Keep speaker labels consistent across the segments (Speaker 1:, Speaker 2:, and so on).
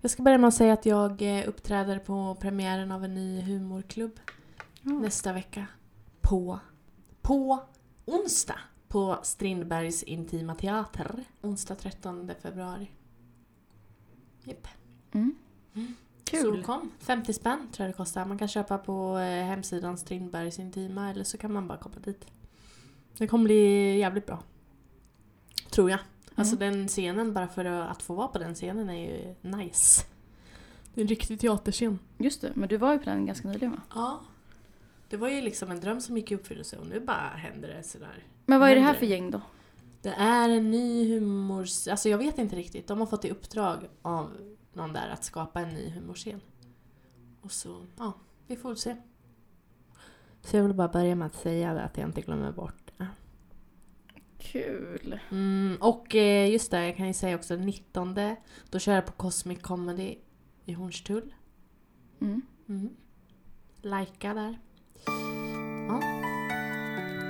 Speaker 1: Jag ska börja med att säga att jag eh, uppträder på premiären av en ny humorklubb
Speaker 2: Mm.
Speaker 1: nästa vecka. På, på onsdag. På Strindbergs Intima Teater. Onsdag 13 februari. Japp.
Speaker 2: Mm.
Speaker 1: Mm.
Speaker 2: Kul.
Speaker 1: Så kom. 50 spänn tror jag det kostar. Man kan köpa på eh, hemsidan Strindbergs Intima eller så kan man bara komma dit. Det kommer bli jävligt bra. Tror jag.
Speaker 2: Mm.
Speaker 1: Alltså den scenen, bara för att få vara på den scenen är ju nice. Det är en riktig teaterscen.
Speaker 2: Just det, men du var ju på den ganska nyligen va?
Speaker 1: Ja. Det var ju liksom en dröm som gick i uppfyllelse och nu bara händer det sådär.
Speaker 2: Men vad är det här
Speaker 1: Händer.
Speaker 2: för gäng då?
Speaker 1: Det är en ny humor... Alltså jag vet inte riktigt. De har fått i uppdrag av någon där att skapa en ny humorscen. Och så, ja, vi får väl se. Så jag vill bara börja med att säga det, att jag inte glömmer bort det.
Speaker 2: Kul.
Speaker 1: Mm, och eh, just det, jag kan ju säga också 19. Då kör jag på Cosmic Comedy i Hornstull.
Speaker 2: Mm.
Speaker 1: Mm. Lajka där.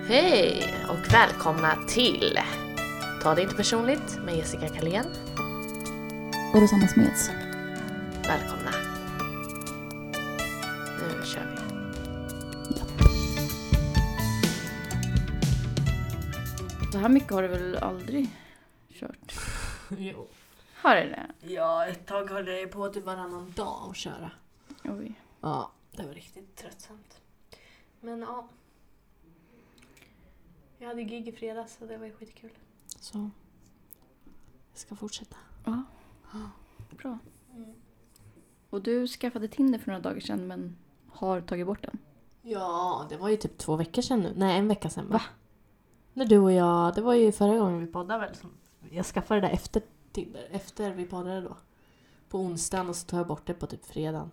Speaker 1: Hej och välkomna till Ta det inte personligt med Jessica Kalén.
Speaker 2: Och Rosanna Smeds.
Speaker 1: Välkomna. Nu kör vi.
Speaker 2: Så här mycket har du väl aldrig kört?
Speaker 1: Jo.
Speaker 2: Har du det?
Speaker 1: Ja, ett tag höll jag ju på typ varannan dag att köra.
Speaker 2: Oj.
Speaker 1: Ja. Det var riktigt tröttsamt. Men ja. Jag hade gig i fredags och det var ju skitkul. Så. Jag ska fortsätta.
Speaker 2: Ja. Mm. Bra. Och du skaffade Tinder för några dagar sedan men har tagit bort den.
Speaker 1: Ja, det var ju typ två veckor sedan nu. Nej, en vecka sedan
Speaker 2: Va?
Speaker 1: När du och jag, det var ju förra gången vi poddade väl. som- Jag skaffade det där efter Tinder, efter vi poddade då. På onsdagen och så tog jag bort det på typ fredagen.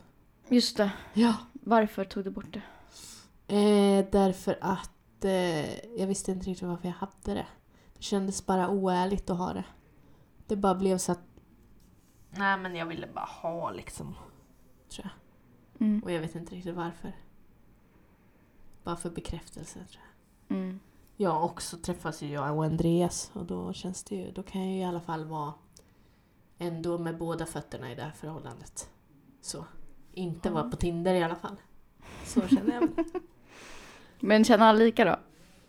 Speaker 2: Just det.
Speaker 1: Ja.
Speaker 2: Varför tog du bort det?
Speaker 1: Eh, därför att eh, jag visste inte riktigt varför jag hade det. Det kändes bara oärligt att ha det. Det bara blev så att... Nej men jag ville bara ha liksom. Tror jag.
Speaker 2: Mm.
Speaker 1: Och jag vet inte riktigt varför. Bara för bekräftelse tror jag.
Speaker 2: Mm.
Speaker 1: Ja, och så träffas ju jag och Andreas och då känns det ju, då kan jag ju i alla fall vara ändå med båda fötterna i det här förhållandet. Så. Inte
Speaker 2: Ja.
Speaker 1: vara på Tinder i alla fall. Så känner jag.
Speaker 2: Men känner alla lika då?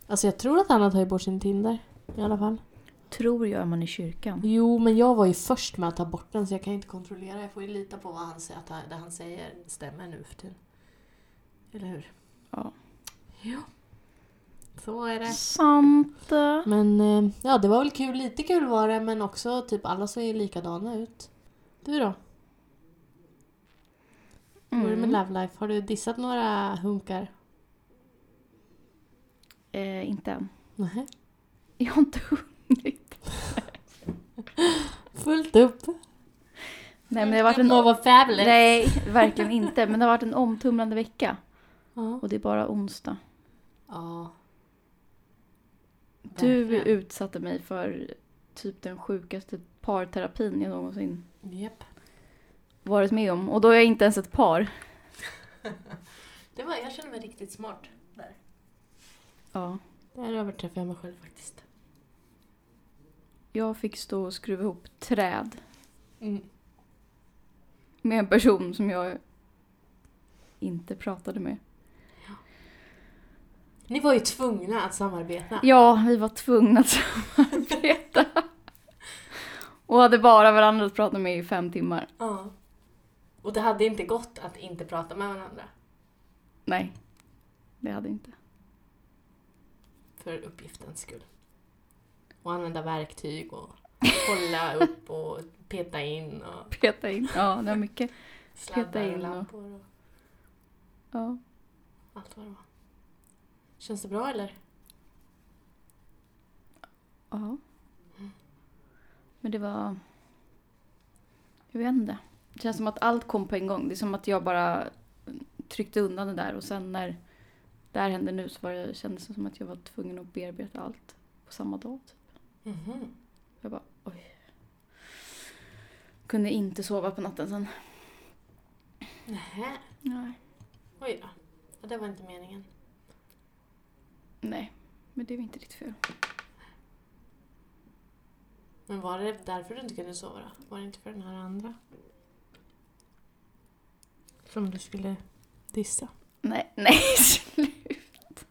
Speaker 1: Alltså jag tror att han har tagit bort sin Tinder i alla fall.
Speaker 2: Tror jag man i kyrkan.
Speaker 1: Jo, men jag var ju först med att ta bort den så jag kan inte kontrollera. Jag får ju lita på vad han säger, att det han säger stämmer nu för tiden. Eller hur?
Speaker 2: Ja.
Speaker 1: Ja. Så är det.
Speaker 2: Sant.
Speaker 1: Men eh, ja, det var väl kul. Lite kul var det, men också typ alla ser ju likadana ut. Du då? Hur är det med
Speaker 2: Mm.
Speaker 1: Love Life? Har du dissat några hunkar?
Speaker 2: Eh, inte än.
Speaker 1: Nej.
Speaker 2: Jag har inte hunnit.
Speaker 1: Fullt upp.
Speaker 2: Nej men det har varit en...
Speaker 1: Nova Fabulous.
Speaker 2: Nej, verkligen inte. Men det har varit en omtumlande vecka.
Speaker 1: Ja.
Speaker 2: Och det är bara onsdag.
Speaker 1: ja.
Speaker 2: Du
Speaker 1: Verkligen.
Speaker 2: utsatte mig för typ den sjukaste parterapin jag någonsin
Speaker 1: Japp.
Speaker 2: varit med om. Och då är jag inte ens ett par.
Speaker 1: Det var, jag känner mig riktigt smart där.
Speaker 2: Ja.
Speaker 1: Där överträffade jag mig själv faktiskt.
Speaker 2: Jag fick stå och skruva ihop träd
Speaker 1: Mm.
Speaker 2: med en person som jag inte pratade med.
Speaker 1: Ni var ju tvungna att samarbeta.
Speaker 2: Ja, vi var tvungna att samarbeta. Och hade bara varandra att prata med i fem timmar.
Speaker 1: Ja. Och det hade inte gått att inte prata med varandra.
Speaker 2: Nej, det hade inte.
Speaker 1: för uppgiftens skull. Och använda verktyg och hålla upp och peta in och
Speaker 2: Peta in. Ja, det var mycket. Peta
Speaker 1: sladdar
Speaker 2: in
Speaker 1: och
Speaker 2: och-
Speaker 1: lampor och
Speaker 2: Ja.
Speaker 1: allt vad det var. Känns det bra eller?
Speaker 2: Ja. Men det var... Jag vet inte. Det känns som att allt kom på en gång. Det är som att jag bara tryckte undan det där och sen när det här hände nu så var det, kändes det som att jag var tvungen att bearbeta allt på samma dag. typ.
Speaker 1: Mhm.
Speaker 2: Jag bara oj. Kunde inte sova på natten sen.
Speaker 1: Nähä.
Speaker 2: Nej.
Speaker 1: Oj då. Ja, det var inte meningen.
Speaker 2: Nej, men det är väl inte ditt fel.
Speaker 1: Men var det därför du inte kunde sova då? Var det inte för den här andra? Som du skulle dissa.
Speaker 2: Nej, nej, slut.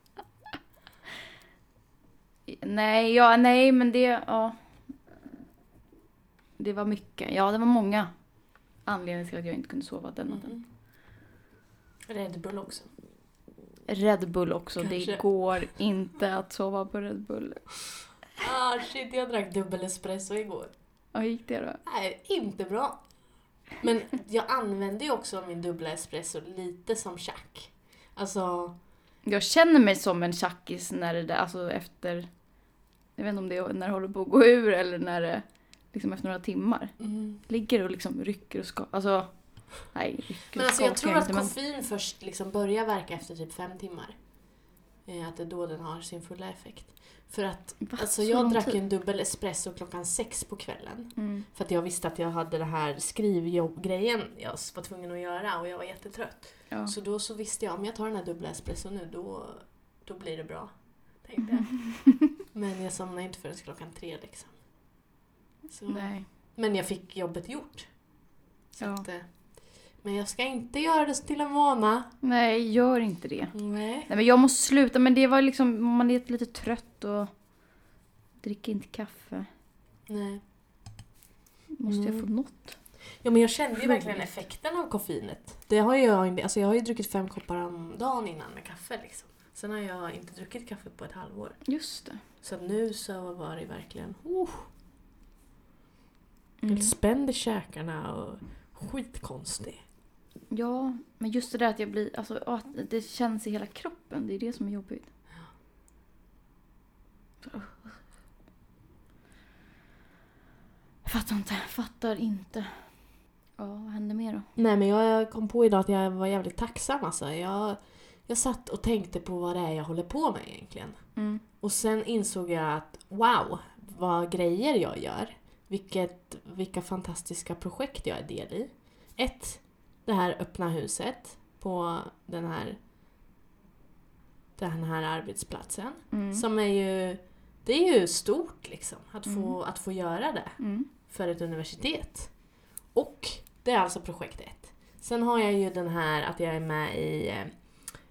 Speaker 2: Nej, ja, nej, men det, ja. Det var mycket. Ja, det var många anledningar till att jag inte kunde sova den natten.
Speaker 1: Mm. Red Bull också.
Speaker 2: Red Bull också.
Speaker 1: Kanske.
Speaker 2: Det går inte att sova på Red Bull.
Speaker 1: Ah shit, jag drack dubbel espresso igår.
Speaker 2: Ja, gick det då?
Speaker 1: Nej, inte bra. Men jag använde ju också min dubbla espresso lite som tjack. Alltså,
Speaker 2: Jag känner mig som en tjackis när det där, alltså efter... Jag vet inte om det är när det håller på att gå ur eller när det... Liksom efter några timmar. Ligger och liksom rycker och ska... Alltså... Nej, rycker och
Speaker 1: men alltså jag
Speaker 2: skakar
Speaker 1: tror att
Speaker 2: inte, men-
Speaker 1: koffein först liksom börjar verka efter typ fem timmar. Eh, Att det är då den har sin fulla effekt. För att
Speaker 2: Va?
Speaker 1: alltså
Speaker 2: Så
Speaker 1: jag
Speaker 2: lång
Speaker 1: drack
Speaker 2: tid?
Speaker 1: ju en dubbel espresso klockan sex på kvällen.
Speaker 2: Mm.
Speaker 1: För att jag visste att jag hade den här skrivjobbgrejen jag var tvungen att göra och jag var jättetrött.
Speaker 2: Ja.
Speaker 1: Så då så visste jag om jag tar den här dubbla espresso nu då, då blir det bra. Tänkte jag. Men jag somnade inte förrän klockan tre liksom. Så.
Speaker 2: Nej.
Speaker 1: Men jag fick jobbet gjort. Mm. Så
Speaker 2: Ja.
Speaker 1: att, eh, men jag ska inte göra det till en vana.
Speaker 2: Nej, gör inte det.
Speaker 1: Nej.
Speaker 2: Nej men jag måste sluta, men det var liksom, man är lite trött och dricker inte kaffe.
Speaker 1: Nej.
Speaker 2: Måste
Speaker 1: Mm.
Speaker 2: jag få något?
Speaker 1: Ja men jag kände ju verkligen
Speaker 2: Roligt.
Speaker 1: effekten av koffeinet. Det har ju jag, inte- alltså jag har ju druckit fem koppar om dagen innan med kaffe liksom. Sen har jag inte druckit kaffe på ett halvår.
Speaker 2: Just det.
Speaker 1: Så att nu så var det verkligen oh,
Speaker 2: Mm.
Speaker 1: helt spänd i käkarna och skitkonstig.
Speaker 2: Ja, men just det där att jag blir, alltså ja, att det känns i hela kroppen, det är det som är jobbigt. Så. Jag fattar inte, jag fattar inte. Ja, vad händer mer då?
Speaker 1: Nej men jag kom på idag att jag var jävligt tacksam alltså. Jag, jag satt och tänkte på vad det är jag håller på med egentligen.
Speaker 2: Mm.
Speaker 1: Och sen insåg jag att wow, vad grejer jag gör. Vilket, vilka fantastiska projekt jag är del i. Ett, det här öppna huset på den här, den här arbetsplatsen.
Speaker 2: Mm.
Speaker 1: Som är ju, det är ju stort liksom, att få, att få göra det
Speaker 2: Mm.
Speaker 1: för ett universitet. Och det är alltså projekt ett. Sen har jag ju den här att jag är med i eh,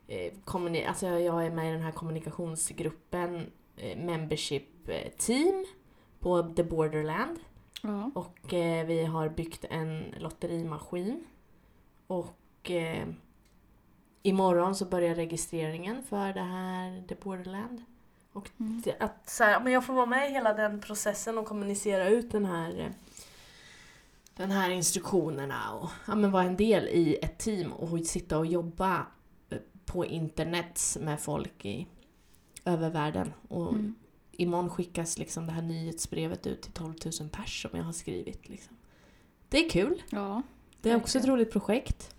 Speaker 1: eh, kommuni- alltså jag är med i den här kommunikationsgruppen, eh, membership eh, team på The Borderland.
Speaker 2: Ja.
Speaker 1: Och eh, vi har byggt en lotterimaskin. Och eh, imorgon så börjar registreringen för det här The Borderland. Och
Speaker 2: Mm.
Speaker 1: det- att så här, men jag får vara med i hela den processen och kommunicera ut den här eh, den här instruktionerna och ja, men vara en del i ett team och sitta och jobba eh, på internet med folk i över världen och
Speaker 2: Mm.
Speaker 1: imorgon skickas liksom det här nyhetsbrevet ut till 12 000 pers som jag har skrivit. Liksom. Det är kul.
Speaker 2: Ja.
Speaker 1: Det är också ett
Speaker 2: Verkligen.
Speaker 1: roligt projekt.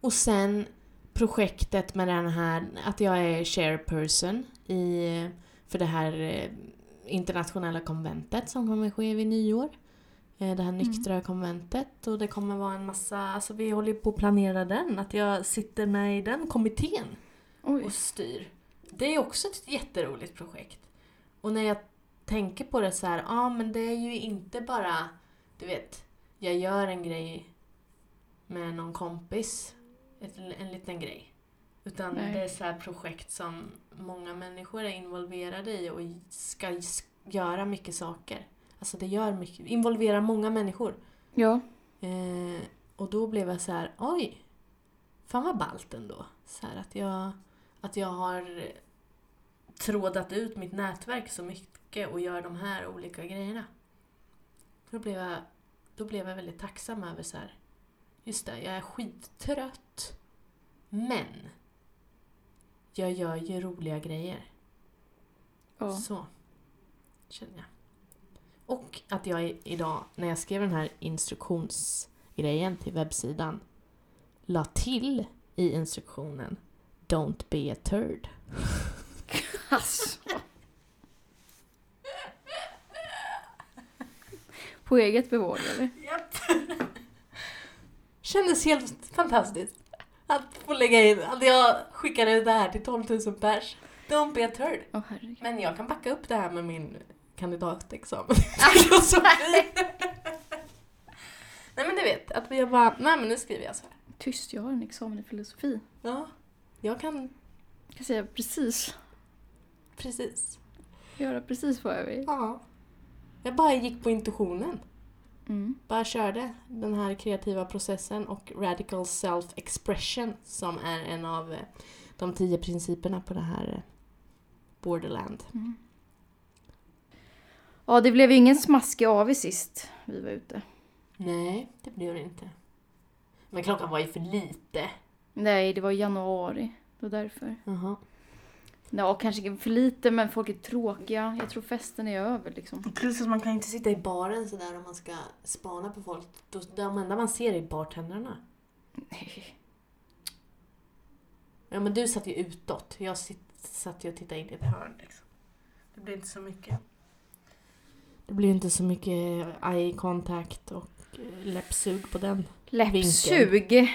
Speaker 1: Och sen projektet med den här, att jag är shareperson i, för det här eh, internationella konventet som kommer ske vid nyår. Eh, Det här nyktra konventet och det kommer vara en massa, alltså vi håller på att planera den, att jag sitter med i den kommittén
Speaker 2: Oj.
Speaker 1: och styr. Det är också ett jätteroligt projekt. Och när jag tänker på det så här, ja ah, men det är ju inte bara, du vet, jag gör en grej med någon kompis, ett, en liten grej. Utan
Speaker 2: Nej.
Speaker 1: det är så här projekt som många människor är involverade i och ska s- göra mycket saker. Alltså det gör mycket, involverar många människor.
Speaker 2: Ja.
Speaker 1: Eh, och då blev jag så här, oj, fan vad ballt ändå. Så här, att, jag, att jag har trådat ut mitt nätverk så mycket och gör de här olika grejerna. Då blev jag, då blev jag väldigt tacksam över så här, just det, jag är skittrött, men jag gör ju roliga grejer.
Speaker 2: ja.
Speaker 1: Så känner jag. Och att jag i- idag, när jag skrev den här instruktionsgrejen till webbsidan, la till i instruktionen Don't be a turd.
Speaker 2: Alltså. På eget bevåg eller?
Speaker 1: Kändes helt fantastiskt. Att få lägga in, att jag skickade det här till 12 000 pers. Don't be a turd.
Speaker 2: Åh herregud.
Speaker 1: Men jag kan backa upp det här med min kandidatexamen i filosofi. Nej men du vet, att jag bara, nej men nu skriver jag så här.
Speaker 2: tyst, jag har en examen i filosofi.
Speaker 1: Ja. Jag kan
Speaker 2: Jag kan säga precis,
Speaker 1: precis.
Speaker 2: göra precis vad jag vill.
Speaker 1: Ja. Jag bara gick på intuitionen.
Speaker 2: Mm.
Speaker 1: Bara körde den här kreativa processen och radical self-expression som är en av eh, de tio principerna på det här eh, Borderland.
Speaker 2: Mm. Ja, det blev ju ingen smaskig AW sist vi var ute.
Speaker 1: Nej, det blev det inte. Men klockan var ju för lite.
Speaker 2: Nej, det var i januari. Det var därför.
Speaker 1: Jaha.
Speaker 2: Ja, kanske för lite, men folk är tråkiga. Jag tror festen är över liksom.
Speaker 1: Plus att man kan inte sitta i baren sådär om man ska spana på folk. Då, de enda man ser är bartendrarna.
Speaker 2: Nej.
Speaker 1: Ja men du satt ju utåt. Jag sit- satt ju och tittade in i ett hörn liksom. Det blir inte så mycket. Det blir inte så mycket eye contact och eh, läppsug på den.
Speaker 2: Läppsug!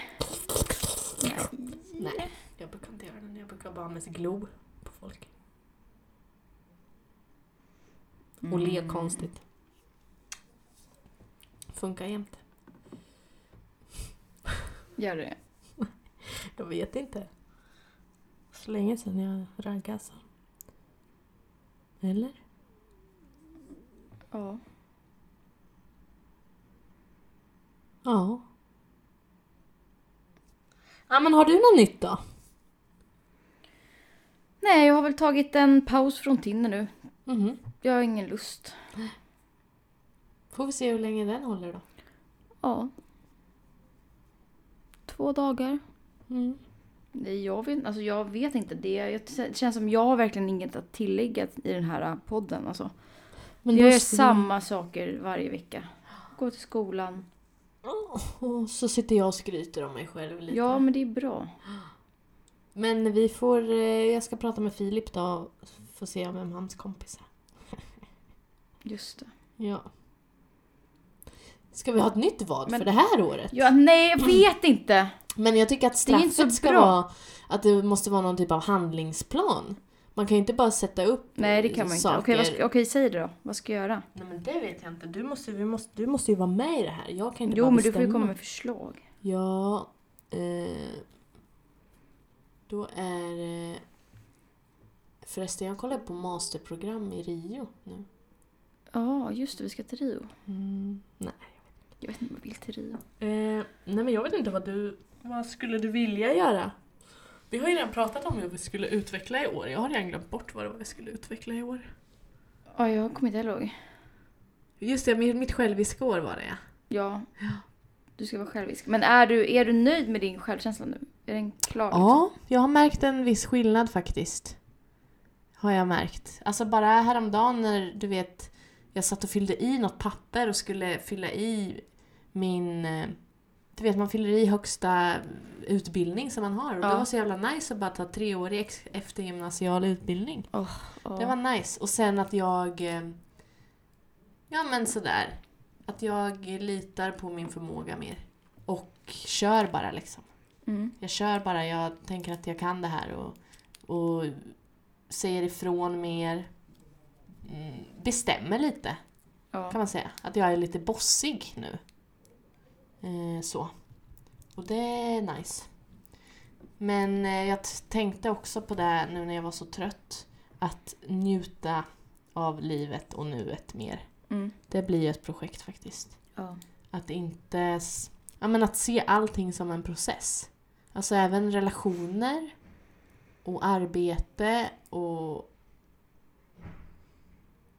Speaker 1: Nej. Jag brukar inte göra det. Jag brukar bara ha med sig glo på folk.
Speaker 2: Mm.
Speaker 1: Och le konstigt. Funkar jämt.
Speaker 2: Gör det.
Speaker 1: Jag vet inte. Så länge sedan jag raggade så. Eller?
Speaker 2: Ja.
Speaker 1: Ja. Ja men har du något nytt då?
Speaker 2: Nej, jag har väl tagit en paus från Tinder nu.
Speaker 1: Mhm.
Speaker 2: Jag har ingen lust.
Speaker 1: Får vi se hur länge den håller då.
Speaker 2: Ja. Två dagar.
Speaker 1: Mm.
Speaker 2: Nej, jag vet, alltså jag vet inte. Det, jag, det känns som jag har verkligen inget att tillägga i den här eh, podden. Alltså.
Speaker 1: Men
Speaker 2: jag
Speaker 1: då
Speaker 2: gör
Speaker 1: ska vi-
Speaker 2: samma saker varje vecka. Gå till skolan.
Speaker 1: Och så sitter jag och skryter om mig själv lite.
Speaker 2: Ja, men det är bra.
Speaker 1: Men vi får... eh, Jag ska prata med Filip då och få se vem hans kompis är.
Speaker 2: Just det.
Speaker 1: Ja. Ska vi ha ett nytt vad
Speaker 2: Men-
Speaker 1: för det här året?
Speaker 2: Ja, nej, jag vet inte!
Speaker 1: Men jag tycker att
Speaker 2: Det är inte så
Speaker 1: straffet ska
Speaker 2: bra.
Speaker 1: vara att det måste vara någon typ av handlingsplan. Man kan ju inte bara sätta upp
Speaker 2: Nej, det kan man inte.
Speaker 1: saker.
Speaker 2: Okej, vad ska, okej, säg det då. Vad ska jag göra?
Speaker 1: Nej men det vet jag inte. Du måste, vi måste, du måste ju vara med i det här. Jag kan inte
Speaker 2: Jo,
Speaker 1: bara
Speaker 2: men du får ju
Speaker 1: bestämma.
Speaker 2: komma med förslag.
Speaker 1: Ja. Eh, då är... Eh, förresten, jag kollar på masterprogram i Rio nu.
Speaker 2: Ja, just det. Vi ska till Rio.
Speaker 1: Mm, nej.
Speaker 2: Jag vet inte om jag vill till Rio.
Speaker 1: Eh, nej men jag vet inte vad du... Vad skulle du vilja göra? Vi har ju redan pratat om vad vi skulle utveckla i år. Jag har redan glömt bort vad det var vi skulle utveckla i år.
Speaker 2: Ja, jag kommer inte ihåg.
Speaker 1: Just det, mitt mitt själviska år var det ja.
Speaker 2: Ja. Du ska vara självisk. Men är du, är du nöjd med din självkänsla nu? Är den klar?
Speaker 1: Ja, jag har märkt en viss skillnad faktiskt. Har jag märkt. Alltså bara häromdagen när du vet, jag satt och fyllde i något papper och skulle fylla i min... eh, Du vet, man fyller i högsta utbildning som man har. Och det
Speaker 2: Ja.
Speaker 1: var så jävla nice att bara ta treårig ex- eftergymnasial utbildning.
Speaker 2: Ja.
Speaker 1: Det var nice. Och sen att jag... eh, Ja men sådär. Att jag litar på min förmåga mer. Och kör bara liksom.
Speaker 2: Mm.
Speaker 1: Jag kör bara, jag tänker att jag kan det här och, och säger ifrån mer. Mm, Bestämmer lite,
Speaker 2: Ja.
Speaker 1: kan man säga. Att jag är lite bossig nu. Eh, så. Och det är nice. Men eh, jag t- tänkte också på det här nu när jag var så trött. Att njuta av livet och nuet mer.
Speaker 2: Mm.
Speaker 1: Det blir ju ett projekt faktiskt.
Speaker 2: Ja.
Speaker 1: Att inte... s- Ja, men att se allting som en process. Alltså även relationer och arbete och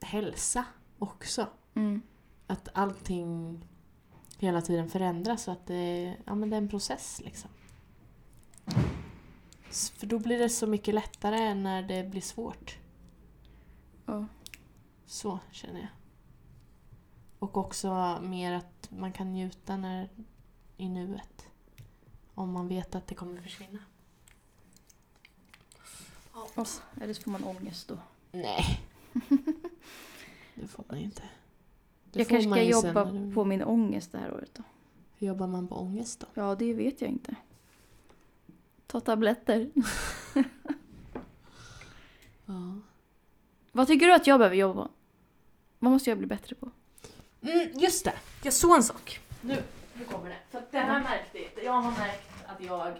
Speaker 1: hälsa också.
Speaker 2: Mm.
Speaker 1: Att allting hela tiden förändras och att det, ja, men det är en process liksom. S- För då blir det så mycket lättare när det blir svårt.
Speaker 2: Ja.
Speaker 1: Så känner jag. Och också mer att man kan njuta när, i nuet. Om man vet att det kommer försvinna.
Speaker 2: Och, eller så får man ångest då.
Speaker 1: Nej. Det får man ju inte. Det
Speaker 2: jag
Speaker 1: får
Speaker 2: kanske
Speaker 1: man
Speaker 2: ska
Speaker 1: ju sen
Speaker 2: jobba
Speaker 1: när du-
Speaker 2: på min ångest det här året då.
Speaker 1: Hur jobbar man på ångest då?
Speaker 2: Ja, det vet jag inte. Ta tabletter.
Speaker 1: Ja.
Speaker 2: Vad tycker du att jag behöver jobba på? Vad måste jag bli bättre på?
Speaker 1: Mm, just det, jag såg en sak. Nu, nu kommer det. För att det här märkte jag. Jag har märkt att jag...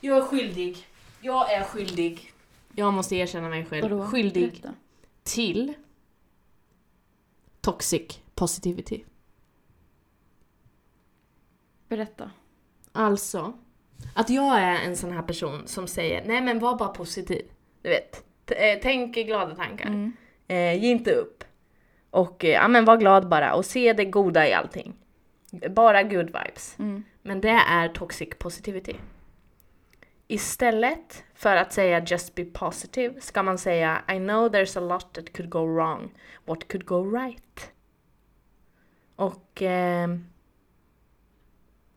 Speaker 1: Jag är skyldig. Jag är skyldig. Jag måste erkänna mig själv.
Speaker 2: Vadå?
Speaker 1: Skyldig
Speaker 2: Berätta.
Speaker 1: till toxic positivity.
Speaker 2: Berätta.
Speaker 1: Alltså, att jag är en sån här person som säger nej men var bara positiv. Du vet, T- eh, tänk glada tankar.
Speaker 2: Mm.
Speaker 1: Eh, ge inte upp. Och eh, ja, men var glad bara och se det goda i allting. Bara good vibes.
Speaker 2: Mm.
Speaker 1: Men det är toxic positivity. Istället för att säga just be positive ska man säga I know there's a lot that could go wrong. What could go right? Och ehm,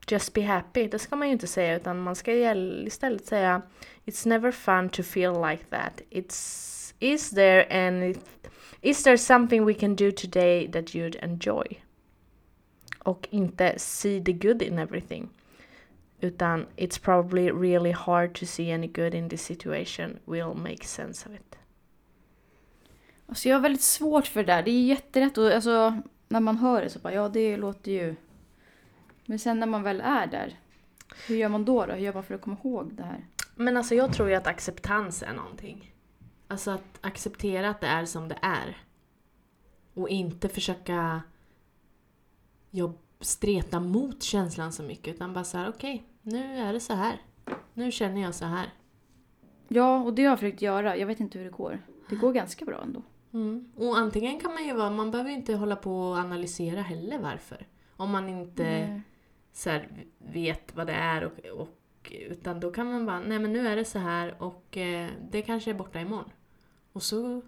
Speaker 1: just be happy, det ska man ju inte säga utan man ska gäll- istället säga It's never fun to feel like that. It's is there any is there something we can do today that you'd enjoy? och inte see the good in everything. Utan it's probably really hard to see any good in this situation will make sense of it.
Speaker 2: Alltså jag har väldigt svårt för det där. Det är jätterätt och alltså, när man hör det så bara ja det låter ju... Men sen när man väl är där, hur gör man då? då? Hur gör man för att komma ihåg det här?
Speaker 1: Men alltså jag tror ju att acceptans är någonting. Alltså att acceptera att det är som det är. Och inte försöka jobb, streta mot känslan så mycket utan bara så här: okej, nu är det så här. Nu känner jag så här.
Speaker 2: Ja, och det har jag försökt göra. Jag vet inte hur det går. Det går ganska bra ändå.
Speaker 1: Mm. Och antingen kan man ju vara, man behöver ju inte hålla på och analysera heller varför. Om man inte
Speaker 2: Nej.
Speaker 1: så här, vet vad det är och, och utan då kan man bara, nej men nu är det så här och eh, det kanske är borta imorgon. Och så...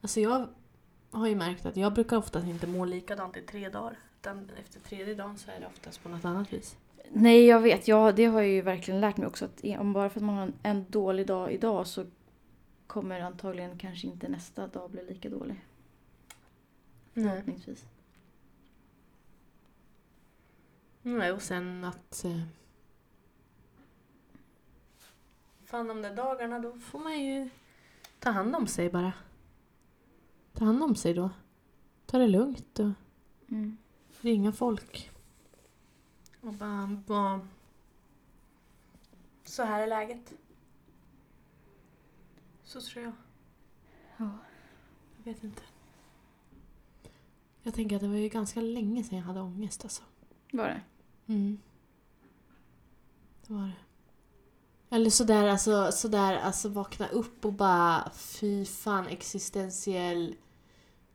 Speaker 1: Alltså jag har ju märkt att jag brukar oftast inte må likadant i tre dagar. Utan efter tredje dagen så är det oftast på något annat vis.
Speaker 2: Nej, jag vet. Ja, det har jag ju verkligen lärt mig också. Att om bara för att man har en, en dålig dag idag så kommer antagligen kanske inte nästa dag bli lika dålig.
Speaker 1: Nej.
Speaker 2: Förhoppningsvis.
Speaker 1: Nej, och sen att... Eh, fan, de där dagarna, då får man ju ta hand om sig bara. Ta hand om sig då. Ta det lugnt och
Speaker 2: Mm.
Speaker 1: ringa folk. Och bara... bara så här är läget. Så tror jag.
Speaker 2: Ja.
Speaker 1: Jag vet inte. Jag tänker att det var ju ganska länge sedan jag hade ångest alltså.
Speaker 2: Var det?
Speaker 1: Mm. Det var det. Eller sådär, alltså, sådär, alltså vakna upp och bara fy fan existentiell...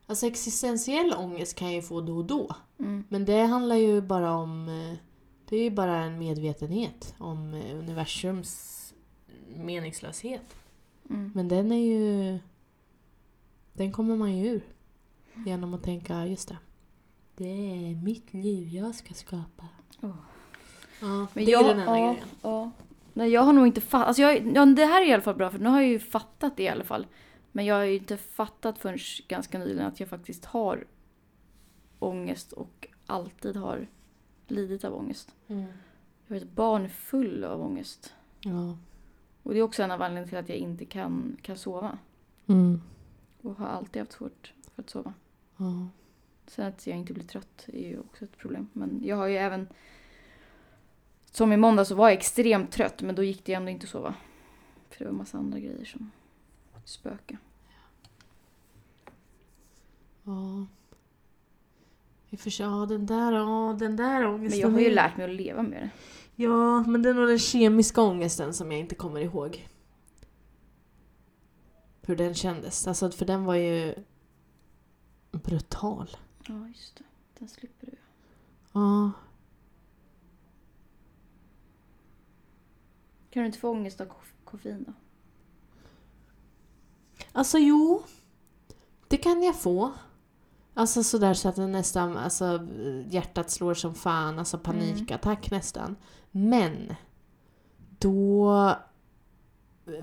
Speaker 1: Alltså existentiell ångest kan jag ju få då och då.
Speaker 2: Mm.
Speaker 1: Men det handlar ju bara om... eh, Det är ju bara en medvetenhet om eh, universums meningslöshet.
Speaker 2: Mm.
Speaker 1: Men den är ju... Den kommer man ju ur. Genom att tänka, just det. Det är mitt liv jag ska skapa.
Speaker 2: Åh.
Speaker 1: Ja,
Speaker 2: Men
Speaker 1: det
Speaker 2: jag,
Speaker 1: är den enda
Speaker 2: ja,
Speaker 1: grejen.
Speaker 2: ja. Nej, jag har nog inte fattat. Alltså jag, ja, det här är i alla fall bra för nu har jag ju fattat det i alla fall. Men jag har ju inte fattat förrän ganska nyligen att jag faktiskt har ångest och alltid har lidit av ångest.
Speaker 1: Mm.
Speaker 2: Jag är ett barn full av ångest.
Speaker 1: Ja.
Speaker 2: Och det är också en av anledningarna till att jag inte kan, kan sova.
Speaker 1: Mm.
Speaker 2: Och har alltid haft svårt för att sova.
Speaker 1: ja.
Speaker 2: Sen att jag inte blir trött är ju också ett problem. Men jag har ju även... Som i måndag så var jag extremt trött men då gick det ändå inte att sova. För det var massa andra grejer som spöka.
Speaker 1: ja. I och för sig, ja den där, ja den där ångesten.
Speaker 2: Men jag har ju
Speaker 1: är-
Speaker 2: lärt mig att leva med det.
Speaker 1: Ja, men det är nog den kemiska ångesten som jag inte kommer ihåg. Hur den kändes. Alltså för den var ju brutal.
Speaker 2: Ja, just det. Den slipper du.
Speaker 1: Ja.
Speaker 2: Kan du inte få ångest av koff- koffein då?
Speaker 1: Alltså jo, det kan jag få. Alltså sådär så att det nästan, alltså hjärtat slår som fan, alltså panikattack nästan. Men, då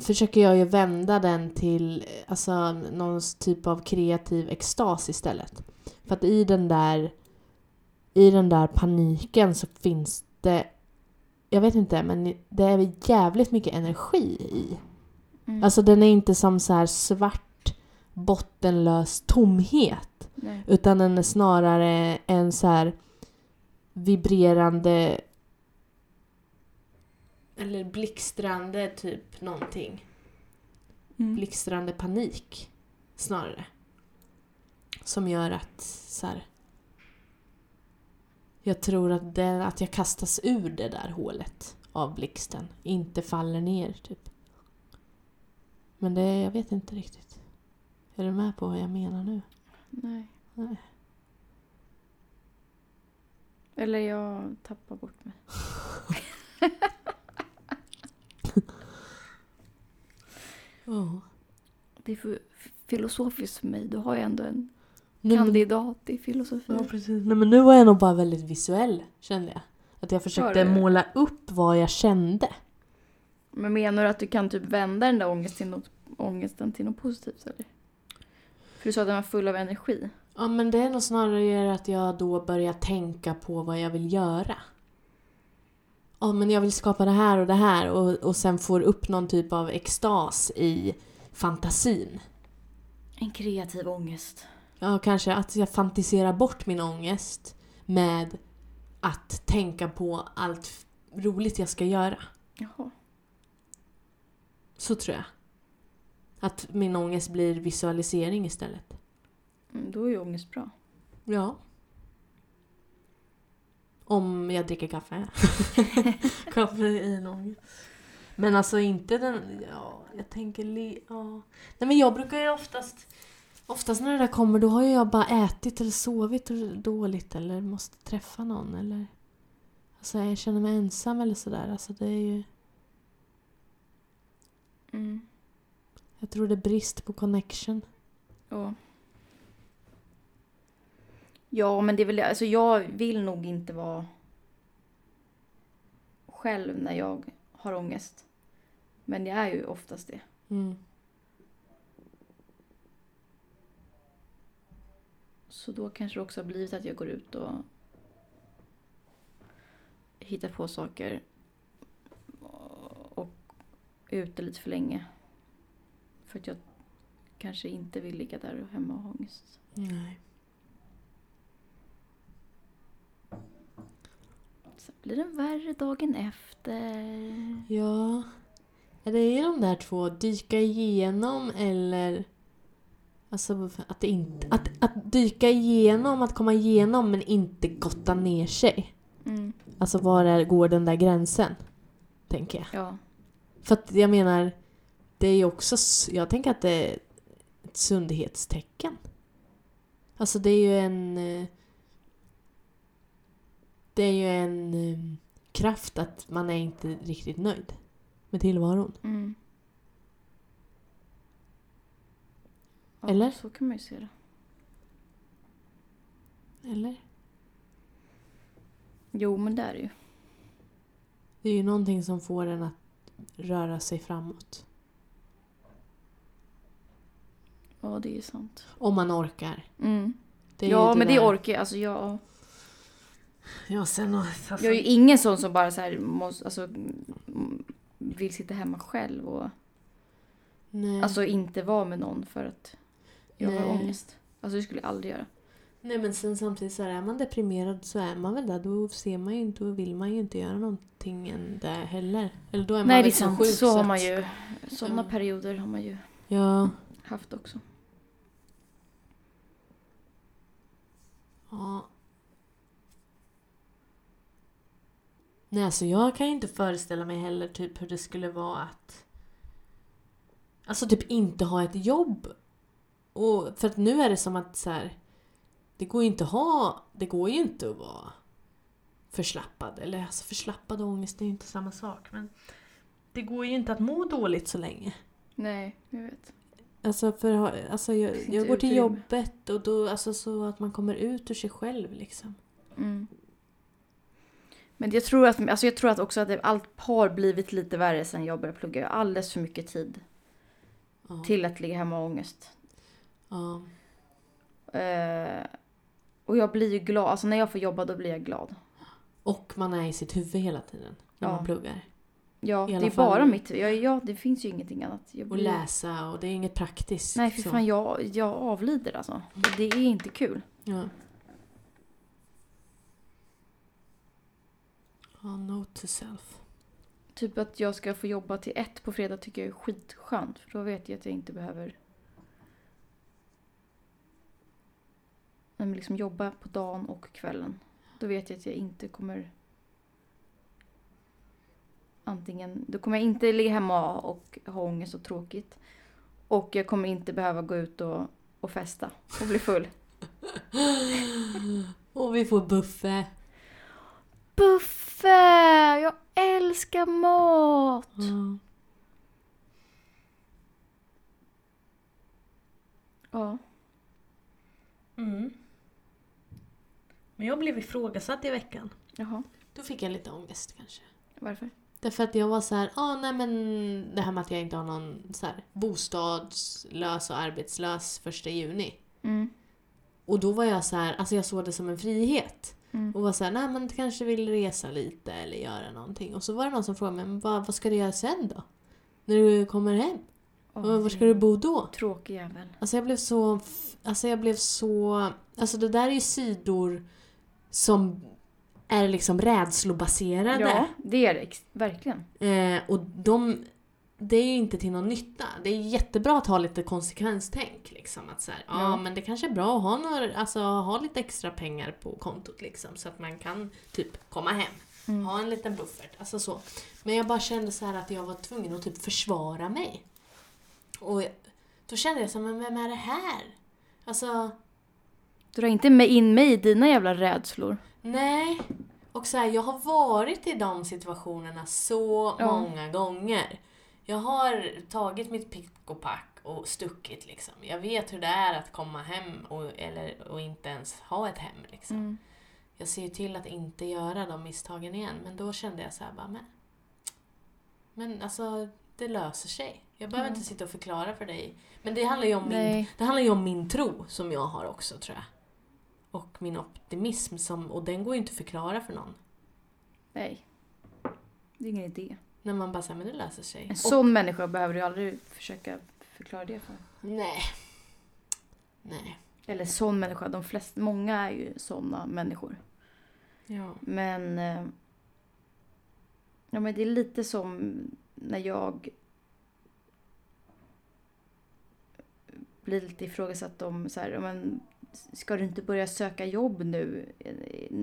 Speaker 1: försöker jag ju vända den till alltså, någon typ av kreativ extas istället. För att i den där, i den där paniken så finns det, jag vet inte, men det är jävligt mycket energi i.
Speaker 2: Mm.
Speaker 1: Alltså den är inte som så här svart bottenlös tomhet.
Speaker 2: Nej.
Speaker 1: Utan den är snarare en så här vibrerande Eller blixtrande typ någonting.
Speaker 2: Mm.
Speaker 1: Blixtrande panik snarare. Som gör att så här, Jag tror att, det, att jag kastas ur det där hålet av blixten. Inte faller ner typ. Men det, jag vet inte riktigt. Är du med på vad jag menar nu?
Speaker 2: Nej.
Speaker 1: Nej.
Speaker 2: Eller jag tappar bort mig.
Speaker 1: Oh.
Speaker 2: Det är för filosofiskt för mig. Du har ju ändå en
Speaker 1: Nej, men,
Speaker 2: kandidat i filosofi.
Speaker 1: ja, precis. Nej, men nu var Mm. jag nog bara väldigt visuell kände jag. Att jag försökte
Speaker 2: du?
Speaker 1: måla upp vad jag kände.
Speaker 2: Men menar du att du kan typ vända den där ångesten till något, ångesten till något positivt eller? För du sa att den var full av energi.
Speaker 1: Ja men det är nog snarare att jag då börjar tänka på vad jag vill göra. Ja men jag vill skapa det här och det här och, och sen får upp någon typ av extas i fantasin.
Speaker 2: En kreativ ångest.
Speaker 1: Ja kanske att jag fantiserar bort min ångest med att tänka på allt f- roligt jag ska göra.
Speaker 2: Jaha.
Speaker 1: Så tror jag. Att min ångest blir visualisering istället.
Speaker 2: Mm, då är ju ångest bra.
Speaker 1: Ja. Om jag dricker kaffe. Koffeinångest. Men alltså inte den... Ja, jag tänker... li- Ja. Nej men jag brukar ju oftast... Oftast när det där kommer då har ju jag bara ätit eller sovit dåligt eller måste träffa någon eller... Alltså jag känner mig ensam eller sådär. Alltså det är ju...
Speaker 2: Mm.
Speaker 1: Jag tror det är brist på connection.
Speaker 2: Ja. Ja, men det är väl Alltså jag vill nog inte vara själv när jag har ångest. Men jag är ju oftast det.
Speaker 1: Mm.
Speaker 2: Så då kanske det också har blivit att jag går ut och hittar på saker och är ute lite för länge. För att jag kanske inte vill ligga där och hemma och ha ångest.
Speaker 1: Nej.
Speaker 2: Sen blir den värre dagen efter.
Speaker 1: Ja. Ja, Det är ju de där två, dyka igenom eller... Alltså att, det inte, att, att dyka igenom, att komma igenom men inte gotta ner sig.
Speaker 2: Mm.
Speaker 1: Alltså var är, går den där gränsen? Tänker jag.
Speaker 2: Ja.
Speaker 1: För att jag menar, det är ju också... s- Jag tänker att det är ett sundhetstecken. Alltså det är ju en... eh, Det är ju en eh, kraft att man är inte riktigt nöjd med tillvaron.
Speaker 2: Mm. ja.
Speaker 1: Eller?
Speaker 2: Så kan man ju se det.
Speaker 1: Eller?
Speaker 2: Jo, men det är det ju.
Speaker 1: Det är ju någonting som får en att röra sig framåt.
Speaker 2: Ja, det är ju sant.
Speaker 1: Om man orkar.
Speaker 2: Mm.
Speaker 1: är
Speaker 2: ja,
Speaker 1: ju
Speaker 2: men det
Speaker 1: där-
Speaker 2: orkar jag. Alltså, jag...
Speaker 1: Ja, sen och...
Speaker 2: Jag är ju ingen sån som bara så här måste, alltså, mm, vill sitta hemma själv och
Speaker 1: Nej.
Speaker 2: alltså inte vara med någon för att jag har
Speaker 1: Nej.
Speaker 2: ångest. Alltså det skulle jag aldrig göra.
Speaker 1: Nej, men sen samtidigt så här, är man deprimerad så är man väl där. Då ser man ju inte och vill man ju inte göra någonting än där heller. Eller då är man liksom
Speaker 2: Nej det
Speaker 1: väl så
Speaker 2: är
Speaker 1: sjuk
Speaker 2: sant, så har
Speaker 1: att-
Speaker 2: man ju. Sådana
Speaker 1: Mm.
Speaker 2: perioder har man ju
Speaker 1: Ja.
Speaker 2: haft också.
Speaker 1: ja. Nej, alltså jag kan ju inte föreställa mig heller typ hur det skulle vara att... Alltså typ inte ha ett jobb. Och, för att nu är det som att så här, det går ju inte att ha... Det går ju inte att vara förslappad. Eller alltså förslappad och ångest är ju inte samma sak. Men det går ju inte att må dåligt så länge.
Speaker 2: Nej, jag vet.
Speaker 1: Alltså, för, ha- alltså
Speaker 2: Det
Speaker 1: jag,
Speaker 2: finns
Speaker 1: jag
Speaker 2: inte
Speaker 1: går till
Speaker 2: utrymme.
Speaker 1: jobbet och då, alltså så att man kommer ut ur sig själv liksom.
Speaker 2: Mm. Men jag tror, att, alltså jag tror att också att det, allt har blivit lite värre sen jag började plugga. Jag har alldeles för mycket tid
Speaker 1: Ja.
Speaker 2: till att ligga hemma och ha ångest.
Speaker 1: Ja.
Speaker 2: Eh, och jag blir ju glad, alltså när jag får jobba då blir jag glad.
Speaker 1: Och man är i sitt huvud hela tiden när
Speaker 2: Ja.
Speaker 1: man pluggar.
Speaker 2: Ja,
Speaker 1: I alla
Speaker 2: det är
Speaker 1: fall.
Speaker 2: bara mitt. Ja, ja, det finns ju ingenting annat. Jag
Speaker 1: Och
Speaker 2: blir-
Speaker 1: läsa och det är inget praktiskt.
Speaker 2: Nej, för
Speaker 1: så.
Speaker 2: fan, jag, jag avlider alltså. Och Det är inte kul.
Speaker 1: Ja. ja, note to self.
Speaker 2: Typ att jag ska få jobba till ett på fredag tycker jag är skitskönt. För då vet jag att jag inte behöver Nej, men liksom jobba på dagen och kvällen. Då vet jag att jag inte kommer antingen, då kommer jag inte ligga hemma och ha ångest och tråkigt. Och jag kommer inte behöva gå ut och, och festa och bli full.
Speaker 1: Och vi får buffe.
Speaker 2: Buffé! Jag älskar mat!
Speaker 1: Ja.
Speaker 2: Ja.
Speaker 1: Mm. Men jag blev ifrågasatt i veckan.
Speaker 2: Jaha.
Speaker 1: Då fick jag lite ångest kanske.
Speaker 2: Varför?
Speaker 1: Därför att jag var så här, ah, nej men det här med att jag inte har någon så här, bostadslös och arbetslös första juni.
Speaker 2: Mm.
Speaker 1: Och då var jag så här, alltså jag såg det som en frihet.
Speaker 2: Mm.
Speaker 1: Och var så här, nej men du kanske vill resa lite eller göra någonting. Och så var det någon som frågade mig, men vad, vad ska du göra sen då? När du kommer hem? Och var ska du bo då?
Speaker 2: Tråkig jävel.
Speaker 1: Alltså jag blev så... Alltså jag blev så... Alltså det där är ju sidor som är liksom rädslobaserade.
Speaker 2: Ja, det är det. ex- Verkligen.
Speaker 1: Eh, och de, det är ju inte till någon nytta. Det är jättebra att ha lite konsekvenstänk. Liksom, att så här, ja.
Speaker 2: Ja.
Speaker 1: men det kanske är bra att ha, några, alltså, ha lite extra pengar på kontot liksom, så att man kan typ komma hem.
Speaker 2: Mm.
Speaker 1: Ha en liten buffert. Alltså så. Men jag bara kände så här att jag var tvungen att typ försvara mig. Och jag, då kände jag så här, men vem är det här? Alltså,
Speaker 2: Dra inte med in mig i dina jävla rädslor.
Speaker 1: Nej. Och så här, jag har varit i de situationerna så
Speaker 2: Ja.
Speaker 1: många gånger. Jag har tagit mitt pick och pack och stuckit liksom. Jag vet hur det är att komma hem och, eller, och inte ens ha ett hem liksom.
Speaker 2: Mm.
Speaker 1: Jag ser ju till att inte göra de misstagen igen. Men då kände jag så här bara, men, men alltså det löser sig. Jag behöver
Speaker 2: Mm.
Speaker 1: inte sitta och förklara för dig. Men det handlar ju om min
Speaker 2: Nej.
Speaker 1: det handlar ju om min tro som jag har också tror jag. Och min optimism som, och den går ju inte att förklara för någon.
Speaker 2: Nej. Det är ingen idé.
Speaker 1: När man bara säger men det löser sig.
Speaker 2: En sån människa behöver du aldrig försöka förklara det för.
Speaker 1: Och, nej. Nej.
Speaker 2: Eller sån människa, de flesta, många är ju såna människor.
Speaker 1: Ja.
Speaker 2: Men... eh, Ja, men det är lite som när jag blir lite ifrågasatt om så här, ja, men ska du inte börja söka jobb nu eh,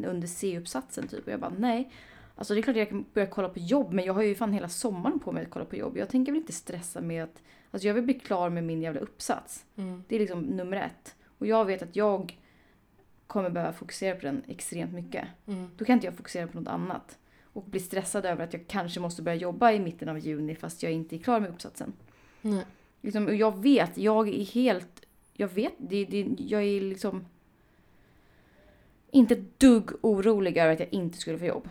Speaker 2: under C-uppsatsen typ? Och jag bara nej. Alltså det är klart jag kan börja kolla på jobb men jag har ju fan hela sommaren på mig att kolla på jobb. Jag tänker väl inte stressa med att, alltså jag vill bli klar med min jävla uppsats.
Speaker 1: Mm.
Speaker 2: Det är liksom nummer ett. Och jag vet att jag kommer behöva fokusera på den extremt mycket.
Speaker 1: Mm.
Speaker 2: Då kan inte jag fokusera på något annat. Och bli stressad över att jag kanske måste börja jobba i mitten av juni fast jag inte är klar med uppsatsen.
Speaker 1: Nej.
Speaker 2: Liksom, och jag vet, jag är helt... Jag vet, det, det, jag är liksom... Inte ett dugg orolig över att jag inte skulle få jobb.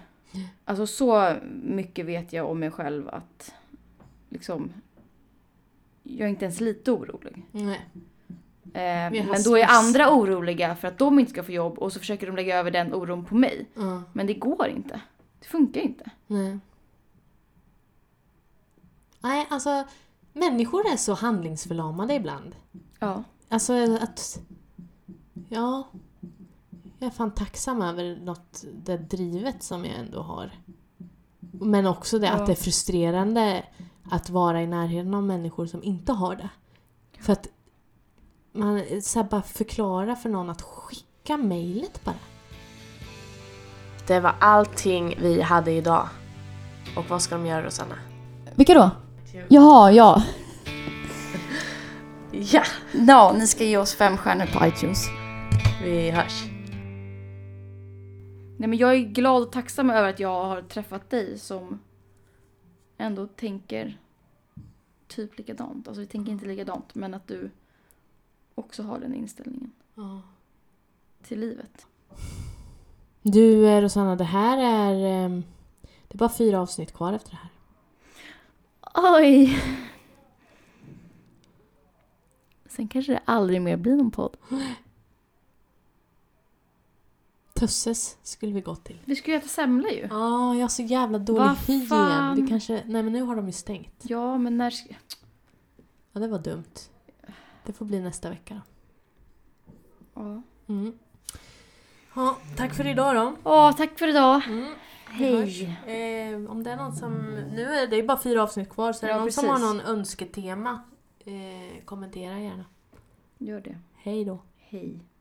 Speaker 2: Alltså så mycket vet jag om mig själv att... Liksom... Jag är inte ens lite orolig.
Speaker 1: Nej.
Speaker 2: Eh,
Speaker 1: Vi har
Speaker 2: men då är
Speaker 1: stress.
Speaker 2: andra oroliga för att de inte ska få jobb och så försöker de lägga över den oron på mig.
Speaker 1: Ja.
Speaker 2: Men det går inte. Det funkar inte.
Speaker 1: Nej. Nej, alltså människor är så handlingsförlamade ibland.
Speaker 2: Ja.
Speaker 1: Alltså att... Ja. Jag är fan tacksam över något, det drivet som jag ändå har. Men också det
Speaker 2: Ja.
Speaker 1: att det är frustrerande att vara i närheten av människor som inte har det. För att man så här, bara förklara för någon att skicka mejlet bara. Det var allting vi hade idag. Och vad ska de göra Rosanna?
Speaker 2: Vilka då? Jaha, ja. ja. No, ni ska ge oss fem stjärnor på iTunes.
Speaker 1: Vi hörs.
Speaker 2: Nej men jag är glad och tacksam över att jag har träffat dig som ändå tänker typ likadant. Alltså vi tänker inte likadant men att du också har den inställningen till livet.
Speaker 1: Du eh, Rosanna, det här är... ehm, Det är bara fyra avsnitt kvar efter det här.
Speaker 2: Oj! Sen kanske det aldrig mer blir någon podd.
Speaker 1: Tösses skulle vi gå till.
Speaker 2: Vi skulle ju äta semla ju.
Speaker 1: Ja, jag har så jävla dålig
Speaker 2: Vad
Speaker 1: hygien.
Speaker 2: fan?
Speaker 1: Vi kanske... Nej men nu har de ju stängt.
Speaker 2: Ja, men när... ska-
Speaker 1: Ja, det var dumt. Det får bli nästa vecka
Speaker 2: Ja.
Speaker 1: då. Mm. Ja, tack för idag då.
Speaker 2: Åh, tack för idag.
Speaker 1: Mm. hörs.
Speaker 2: Hej!
Speaker 1: Eh, om det är någon som... Nu är det ju bara fyra avsnitt kvar så är det
Speaker 2: Ja,
Speaker 1: någon som har
Speaker 2: precis.
Speaker 1: någon önsketema eh, kommentera gärna.
Speaker 2: Gör det.
Speaker 1: Hej då.
Speaker 2: Hej.